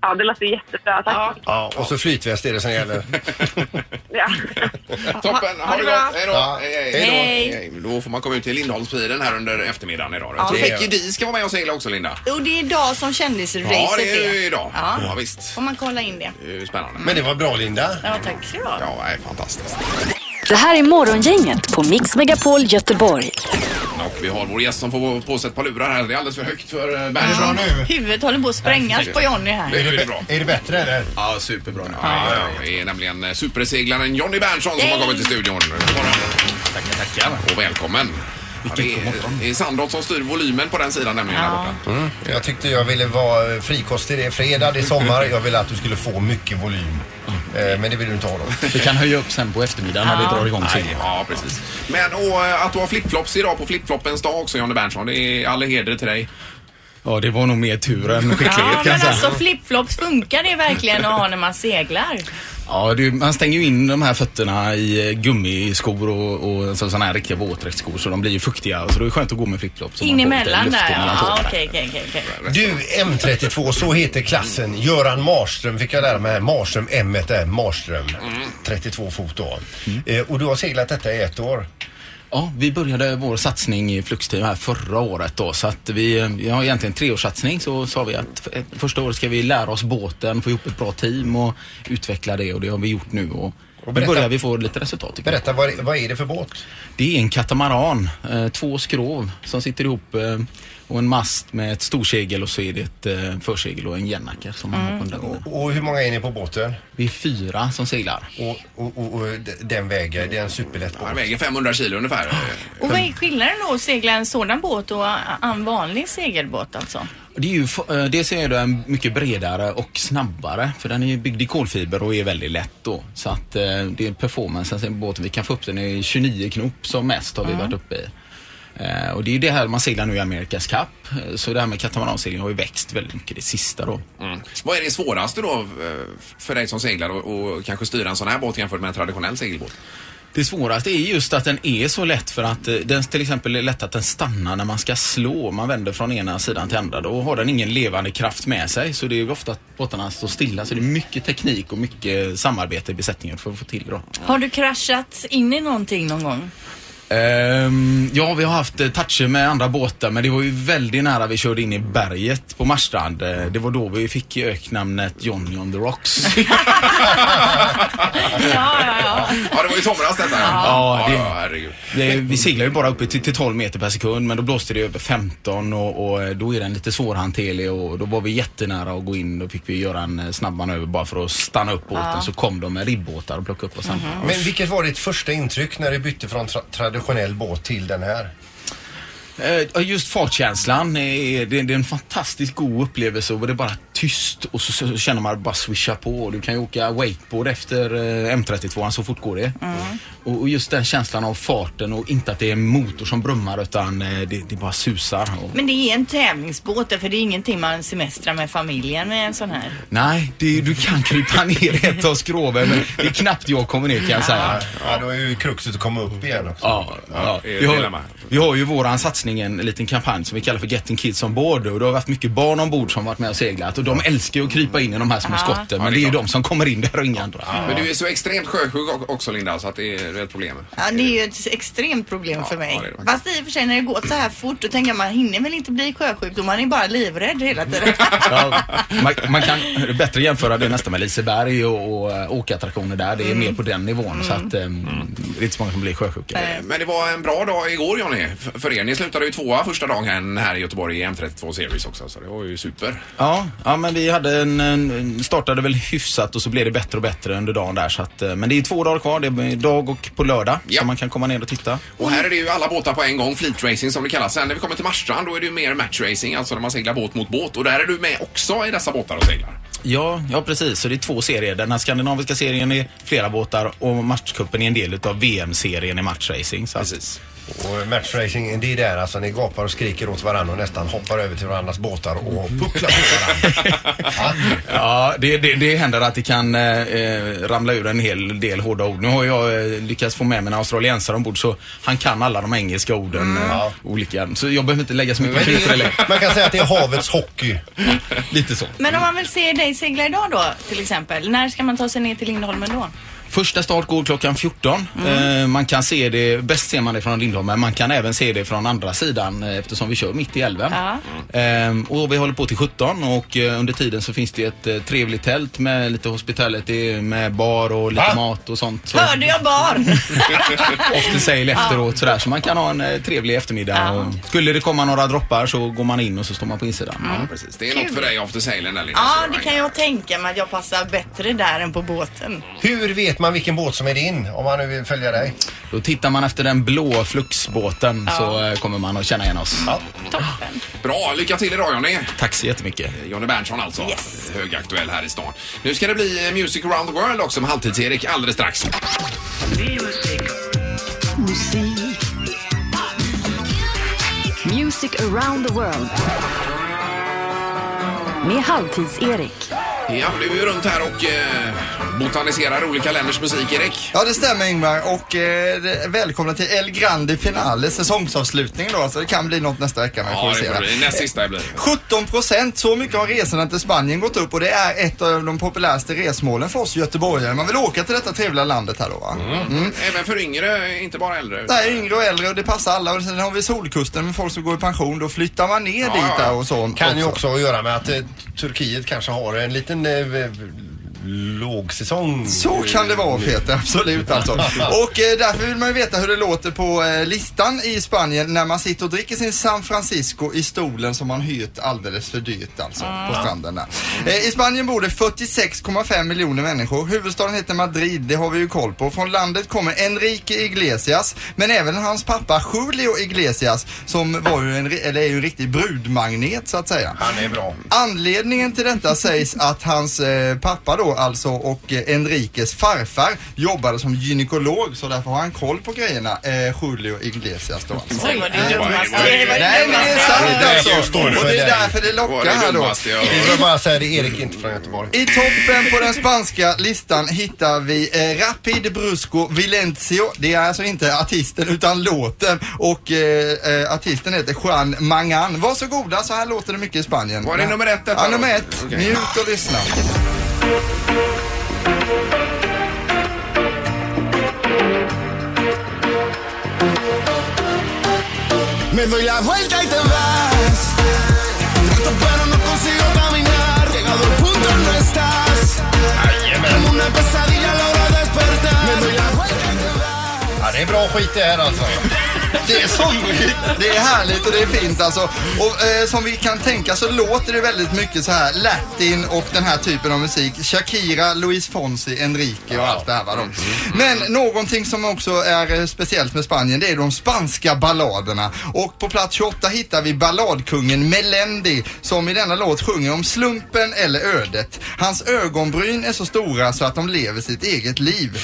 Speaker 12: Ja, det låter jättebra. Tack. Ja.
Speaker 5: Ja, och så flytväst är det som gäller.
Speaker 3: [LAUGHS] Toppen, ha,
Speaker 12: ha
Speaker 3: det
Speaker 12: det
Speaker 3: gott.
Speaker 12: bra.
Speaker 3: Hej då.
Speaker 5: Ja,
Speaker 12: hej då.
Speaker 3: Då får man komma ut till Lindholmspiren här under eftermiddagen idag.
Speaker 4: Ja,
Speaker 3: Ja,
Speaker 4: det-
Speaker 3: Peggy Dee ska vara med och segla också, Linda.
Speaker 4: Och det är idag som kändisracet
Speaker 3: Ja, det är ju idag.
Speaker 4: Ja.
Speaker 3: Ja, visst.
Speaker 4: Får man kolla in det?
Speaker 3: Det är ju spännande.
Speaker 5: Men det var bra Linda.
Speaker 4: Ja, tack så du ha.
Speaker 3: Ja, nej, fantastiskt.
Speaker 1: Det här är Morgongänget på Mix Megapol Göteborg.
Speaker 3: Och vi har vår gäst som får på sig ett par lurar här. Det är alldeles för högt för eh, Berntsson.
Speaker 4: Huvudet håller på att sprängas på Jonny här.
Speaker 3: Nu är det bra.
Speaker 5: Är det bättre eller?
Speaker 3: Ja, superbra. Ja, ja, Det är nämligen eh, superseglaren Jonny Berntsson som har kommit till studion. Tackar, tackar. Och välkommen. Ja, det är- det är Sandholt som styr volymen på den sidan nämligen. Där borta.
Speaker 5: Mm. Jag tyckte jag ville vara frikostig. Det är fredag, det är sommar. Jag ville att du skulle få mycket volym. Eh, Men det vill du inte ha då.
Speaker 13: Vi kan höja upp sen på eftermiddagen när vi drar igång
Speaker 3: Nej,
Speaker 13: seglingen.
Speaker 3: Ja, precis. Men och eh, att du har flipflops idag på flipfloppens dag också Jonny Berntsson. Det är all heder till dig.
Speaker 13: Ja, det var nog mer tur än skicklighet
Speaker 4: Ja,
Speaker 13: kan
Speaker 4: men
Speaker 13: jag säga.
Speaker 4: alltså flipflops, funkar det verkligen att ha när man seglar?
Speaker 13: Ja, du, man stänger ju in de här fötterna i eh, gummiskor och, och alltså, sådana här riktiga våtdräktsskor så de blir ju fuktiga. Så det är skönt att gå med flipflops. så
Speaker 4: In
Speaker 13: man får lite
Speaker 4: emellan
Speaker 13: luft
Speaker 4: där
Speaker 13: mellan
Speaker 4: ja.
Speaker 13: tårna.
Speaker 4: ja okej, okej, okej. okej.
Speaker 5: Du, M32, så heter klassen. Göran Marström fick jag lära mig. här. Marström, M är Marström. 32 fot då. Eh, Och du har seglat detta i ett år.
Speaker 13: Ja, vi började vår satsning i Fluxteam här förra året då så att vi, eh, vi har egentligen en treårssatsning så sa vi att f- ett- första året ska vi lära oss båten, få ihop ett bra team och utveckla det och det har vi gjort nu och, nu
Speaker 5: berätta-
Speaker 13: börjar vi få lite resultat. tycker jag.
Speaker 5: Berätta, vad, vad är det för båt?
Speaker 13: Det är en katamaran, eh, två skrov som sitter ihop eh, och en mast med ett storsegel och så är det ett eh, försegel och en järnnackare som man har på den där bilen.
Speaker 5: Och hur många är ni på båten?
Speaker 13: Vi är fyra som seglar.
Speaker 5: Och, och, och, och d- den väger, det är en superlätt båt. Den
Speaker 3: väger 500 kilo ungefär. Eh,
Speaker 4: Och vad är skillnaden då att segla en sådan båt och en vanlig segelbåt alltså?
Speaker 13: Det är ju, f- eh, dels är den mycket bredare och snabbare för den är ju byggd i kolfiber och är väldigt lätt då. Så att eh, det är performancen i båten. Vi kan få upp den i 29 knop som mest har vi
Speaker 11: Mm.
Speaker 13: varit uppe i. Eh, och det är ju det här man seglar nu i Amerikas Cup. Eh, Så det här med katamaranseglingen har ju växt väldigt mycket det sista då.
Speaker 3: Mm. Vad är det svåraste då eh, för dig som seglar och, och kanske styra en sån här båt jämfört med en traditionell segelbåt?
Speaker 13: Det svåraste är just att den är så lätt för att eh, den till exempel är lätt att den stannar när man ska slå. Man vänder från ena sidan till andra. Då har den ingen levande kraft med sig. Så det är ju ofta att båtarna står stilla. Så det är mycket teknik och mycket samarbete i besättningen för att få till det.
Speaker 4: Har du kraschat in i någonting någon gång?
Speaker 13: Ehm, ja, vi har haft eh, toucher med andra båtar men det var ju väldigt nära vi körde in i berget på Marstrand. Eh, Det var då vi fick öknamnet Johnny on the Rocks.
Speaker 3: Ja, det var i somras detta.
Speaker 13: Ja, det-
Speaker 3: herregud.
Speaker 13: Det, vi seglar ju bara uppe till, till 12 meter per sekund men då blåste det över 15 och, och då är den lite svårhanterlig och då var vi jättenära att gå in. Då fick vi göra en eh, snabb manöver bara för att stanna upp båten
Speaker 5: Ja. Mhm.
Speaker 13: så kom de med ribbåtar och plockade upp oss. andra.
Speaker 5: Men vilket var ditt första intryck när du bytte från tra- traditionell båt till den här?
Speaker 13: Eh, ja, Just fartkänslan, är, det, det är en fantastiskt god upplevelse och det är bara tyst och så, så, så känner man bara swisha på. Du kan ju åka wakeboard efter eh, M32, så fort går det. Och, och just den känslan av farten och inte att det är en motor som brummar utan eh, det, det bara susar. Och,
Speaker 4: Men det är en tävlingsbåt för det är ingenting man semestrar med familjen med en sån här.
Speaker 13: Nej, det, du kan krypa ner i ett av skroven men det är knappt jag kommer ner kan jag säga.
Speaker 5: Ja, då är ju kruxet att komma upp igen också.
Speaker 13: Ja, ja. Vi, har, vi har ju våran satsning, en liten kampanj som vi kallar för Getting Kids On Board och det har varit mycket barn ombord som varit med och seglat och de älskar ju att krypa in i de här små
Speaker 3: Ja.
Speaker 13: skotten
Speaker 3: Ja,
Speaker 13: men
Speaker 3: det
Speaker 13: det
Speaker 3: är
Speaker 13: är ju de som kommer in där och inga andra.
Speaker 3: Men du är så extremt sjösjuk o- också Linda så att det är ett problem.
Speaker 4: Ja, det är ju ett extremt problem för mig. Fast i och för sig när det går så här fort då tänker jag man hinner väl inte bli sjösjuk då man är bara livrädd hela
Speaker 9: [LAUGHS]
Speaker 4: tiden.
Speaker 13: Ja, man, man kan bättre jämföra det nästan med Liseberg och, och eh, åkattraktioner där. Det är mer på den nivån så att eh,
Speaker 3: Mm.
Speaker 13: det är inte så många som blir sjösjuka.
Speaker 3: Men det var en bra dag igår Johnny f- för er. Ni slutade ju tvåa första dagen här i Göteborg i M32 Series också så det var ju super.
Speaker 13: Ja, ja men vi hade en, en, startade väl hyfsat och så blev det bättre och bättre under dagen där. Så att, eh, men det är två dagar kvar, det är dag och på lördag så man kan komma ner och titta.
Speaker 3: Och här är det ju alla båtar på en gång, fleet racing som det kallas. Sen när vi kommer till Marstrand då är det ju mer match racing, alltså när man seglar båt mot båt. Och där är du med också i dessa båtar och seglar.
Speaker 13: Ja, ja precis. Så det är två serier. Den här skandinaviska serien är flera båtar och matchcupen är en del utav VM-serien i matchracing. Så precis.
Speaker 5: Och matchracing, det är där alltså ni gapar och skriker åt varandra och nästan hoppar över till varandras båtar och pucklar på varandra. [LAUGHS]
Speaker 13: [LAUGHS] Ja, det, det, det händer att det kan eh, eh, ramla ur en hel del hårda ord. Nu har jag eh, lyckats få med mig en australiensare ombord så han kan alla de engelska orden. Eh, olika. Så jag behöver inte lägga så mycket krut på det.
Speaker 5: Man kan säga att det är havets hockey.
Speaker 13: Lite så.
Speaker 4: Men om man vill se dig segla idag då till exempel, när ska man ta sig ner till Lindholmen då?
Speaker 13: Första start går klockan 14. Eh, man kan se det, bäst ser man det från Lindholmen, men man kan även se det från andra sidan eh, eftersom vi kör mitt i älven. Eh, och vi håller på till 17 och eh, under tiden så finns det ett eh, trevligt tält med lite hospitality med bar och lite mat och sånt. Så
Speaker 4: Hörde jag
Speaker 9: [LAUGHS]
Speaker 4: barn?
Speaker 13: Ofta säger efteråt sådär så man kan ha en eh, trevlig eftermiddag. Och skulle det komma några droppar så går man in och så står man på insidan.
Speaker 3: Ja, precis. Det är något
Speaker 4: Kul.
Speaker 3: för dig after sailen där Linda.
Speaker 4: Ja, det kan jag tänka mig att jag passar bättre där än på båten.
Speaker 5: Hur vet man vilken båt som är din om man nu vill följa dig?
Speaker 13: Då tittar man efter den blå fluxbåten så eh, kommer man att känna igen oss.
Speaker 3: Bra, lycka till idag Johnny.
Speaker 13: Tack så jättemycket.
Speaker 3: Johnny Berntsson alltså. Högaktuell här i stan. Nu ska det bli eh, Music around the world också med Halvtids-Erik alldeles strax.
Speaker 1: Musik. Music around the world. Med Halvtids-Erik.
Speaker 3: Ja, du är ju runt här och eh, botaniserar olika länders musik Erik.
Speaker 9: Ja, det stämmer Ingmar. Och eh, det- välkomna till El Grande Finale, säsongsavslutningen då. Så det kan bli något nästa vecka. Men vi får
Speaker 3: Ja,
Speaker 9: se.
Speaker 3: det får det bli. Näst sista blir det.
Speaker 9: 17 procent, så mycket har resorna till Spanien gått upp och det är ett av Eh, de populäraste resmålen för oss göteborgare. Man vill åka till detta trevliga landet här då va? Mm.
Speaker 3: Även för yngre, inte bara äldre.
Speaker 9: Nej, yngre och äldre och det passar alla. Och sen har vi Solkusten med folk som går i pension. Då flyttar man ner dit där och så.
Speaker 5: Kan ju också ha att göra med att eh, Turkiet kanske har en liten eh, lågsäsong.
Speaker 9: Så kan det vara Peter, absolut alltså. Och eh, därför vill man ju veta hur det låter på eh, listan i Spanien när man sitter och dricker sin San Francisco i stolen som man hyrt alldeles för dyrt alltså på stranden där. Eh, I Spanien bor det 46,5 miljoner människor. Huvudstaden heter Madrid, det har vi ju koll på. Från landet kommer Enrique Iglesias men även hans pappa Julio Iglesias som var ju en, ri- eller är ju en riktig brudmagnet så att säga.
Speaker 5: Han är bra.
Speaker 9: Anledningen till detta sägs att hans eh, pappa då alltså och eh, Enriques farfar jobbade som gynekolog så därför har han koll på grejerna. Eh, Julio Iglesias då alltså.
Speaker 4: Oj, vad det är dummaste.
Speaker 9: Nej men det är sant alltså. Och det är därför det
Speaker 5: Vad
Speaker 9: lockar
Speaker 5: är det
Speaker 9: här då.
Speaker 5: dummaste jag har hört? Jag vill bara säga det, Erik är inte från Göteborg.
Speaker 9: I toppen på den spanska listan hittar vi eh, Rapid Brusco Vilencio. Det är alltså inte artisten utan låten och eh, eh, artisten heter Juan Mangan. Varsågoda, så här låter det mycket i Spanien.
Speaker 3: Var det nummer ett detta
Speaker 9: Ja,
Speaker 3: då?
Speaker 9: nummer ett.
Speaker 3: Okej.
Speaker 9: Njut och lyssna.
Speaker 11: Me doy la vuelta y te vas. Trato pero no consigo caminar. Llegado el punto no estás. Como una pesadilla a la hora de despertar. Me doy la vuelta y te
Speaker 5: Ja, det är bra skit det här alltså.
Speaker 9: Det är somrigt, det är härligt och det är fint alltså. Och eh, som vi kan tänka så låter det väldigt mycket så här latin och den här typen av musik. Shakira, Luis Fonsi, Enrique och allt det här va då. Men någonting som också är eh, speciellt med Spanien det är de spanska balladerna. Och på plats 28 hittar vi balladkungen Melendi som i denna låt sjunger om slumpen eller ödet. Hans ögonbryn är så stora så att de lever sitt eget liv.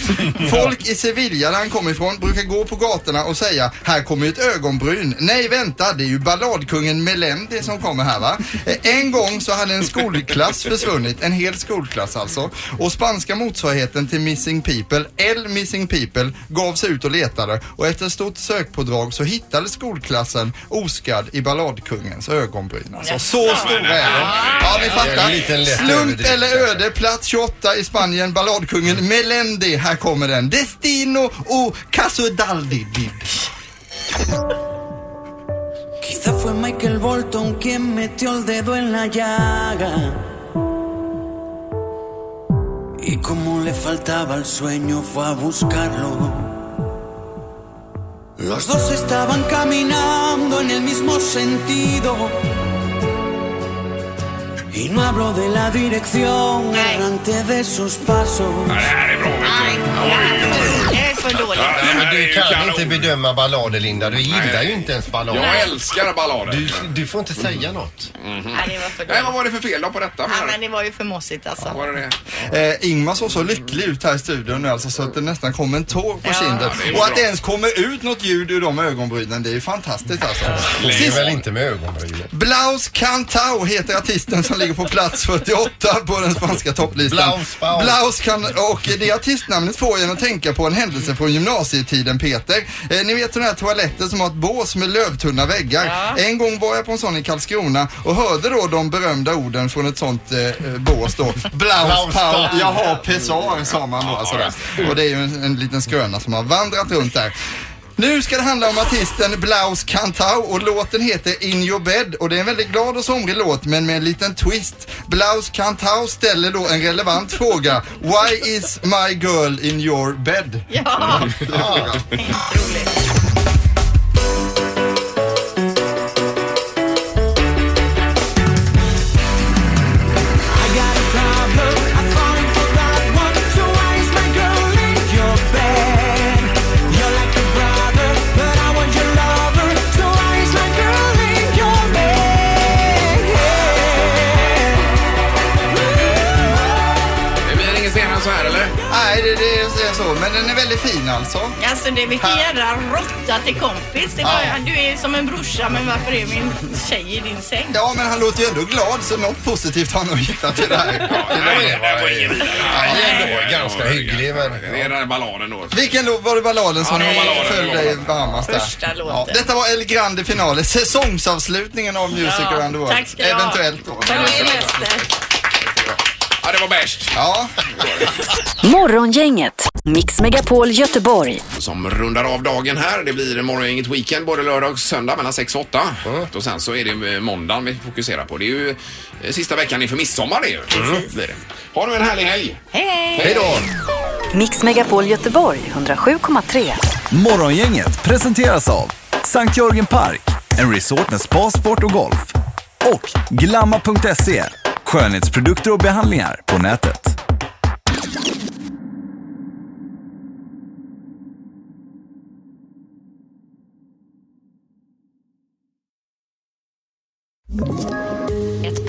Speaker 9: Folk i Sevilla där han kommer ifrån brukar gå på gatorna och säga här kommer ju ett ögonbryn. Nej vänta, det är ju balladkungen Melendi som kommer här va. Eh, En gång så hade en skolklass försvunnit, en hel skolklass alltså. Och spanska motsvarigheten till Missing People, El Missing People, gav sig ut och letade och efter ett stort sökpådrag så hittade skolklassen oh, oskadd i balladkungens ögonbryn. Alltså, så stora är de. Ja, ni
Speaker 5: Det är en liten lätt
Speaker 9: fattar. Slump
Speaker 5: överdrift.
Speaker 9: eller öde, plats 28 i Spanien, balladkungen Melendi. Här kommer den. Destino o Casudaldidid.
Speaker 14: Quizá fue Michael Bolton quien metió el dedo en la llaga. Y como le faltaba el sueño fue a buscarlo. Los dos estaban caminando en el mismo sentido. Y no hablo de la dirección errante de sus pasos.
Speaker 4: Det är för dåligt.
Speaker 5: Nej, men
Speaker 4: det är
Speaker 5: du
Speaker 4: ju
Speaker 5: kan
Speaker 4: kanon.
Speaker 5: inte bedöma ballader Linda. Du gillar ju inte ens ballader.
Speaker 3: Jag älskar ballader.
Speaker 5: Du, du får inte säga något.
Speaker 4: Nej, det var för dåligt.
Speaker 3: Nej, vad var det för fel då på detta?
Speaker 4: Ja, men det var ju för mossigt alltså.
Speaker 3: Var det det?
Speaker 9: Eh, Ingmar såg så lycklig ut här i studion nu alltså så att det nästan kom en tår på
Speaker 4: Ja.
Speaker 9: kinden.
Speaker 4: Ja, det är
Speaker 9: Och att det
Speaker 4: bra.
Speaker 9: ens kommer ut något ljud ur de ögonbrynen, det är ju fantastiskt alltså.
Speaker 5: Det är
Speaker 9: Sist-
Speaker 5: väl inte med ögonbrynen.
Speaker 9: Blaus Cantau heter artisten som ligger på plats 48 på den spanska topplistan.
Speaker 5: Blaus, Blaus.
Speaker 9: Blaus kan, och det artistnamnet får en att tänka på en händelse från gymnasietiden Peter. Eh, ni vet sådana här toaletter som har ett bås med lövtunna väggar. En gång var jag på en sån i Karlskrona och hörde då de berömda orden från ett sånt eh, eh, bås då. Blaus
Speaker 5: Blaus,
Speaker 9: Pau,
Speaker 5: Pau.
Speaker 9: jag har pessar sa man då. Alltså där. Och det är ju en, en liten skröna som har vandrat runt där. Nu ska det handla om artisten Blaus Cantau och låten heter In Your Bed och det är en väldigt glad och somrig låt men med en liten twist. Blaus Cantau ställer då en relevant fråga. Why is my girl in your bed?
Speaker 4: Ja.
Speaker 9: Ja.
Speaker 3: Det blir inget senare än så här eller?
Speaker 9: Nej, det, det är så, men den är väldigt fin alltså.
Speaker 4: Alltså det är vilken jädra råtta till kompis. Det var, Du är som en brorsa men varför är min tjej i din säng?
Speaker 9: Ja, men han låter ju ändå glad så något positivt har han nog hittat i
Speaker 4: [LAUGHS]
Speaker 9: det här.
Speaker 3: Nej, det var ingen
Speaker 5: Nej, ändå ganska hygglig men...
Speaker 3: Det är den här balladen då.
Speaker 9: Vilken låt var det balladen som
Speaker 3: Ja, det var
Speaker 9: ja,
Speaker 3: balladen,
Speaker 9: föll
Speaker 3: det var
Speaker 9: dig
Speaker 3: balladen.
Speaker 9: varmast där?
Speaker 4: Första låten.
Speaker 9: Ja, detta var El Grande Finale, säsongsavslutningen av Music
Speaker 4: Ja,
Speaker 9: around the world.
Speaker 4: tack ska du ha.
Speaker 9: Eventuellt då.
Speaker 4: Men du är mäster.
Speaker 3: Ja, det var bäst.
Speaker 9: Ja.
Speaker 1: Morgongänget Mix Megapol Göteborg.
Speaker 3: Som rundar av dagen här. Det blir morgongänget weekend både lördag och söndag mellan 6 och 8. Och sen så är det eh, måndagen vi fokuserar på. Det är ju eh, sista veckan inför midsommar det är ju. Blir det. Ha nu en härlig helg!
Speaker 1: Hej!
Speaker 3: Hej då!
Speaker 1: Mix Megapol Göteborg 107,3.
Speaker 2: Morgongänget presenteras av Sankt Jörgen Park, en resort med spa, sport och golf. Och Glamma.se, E, skönhetsprodukter och behandlingar på nätet.
Speaker 15: Ett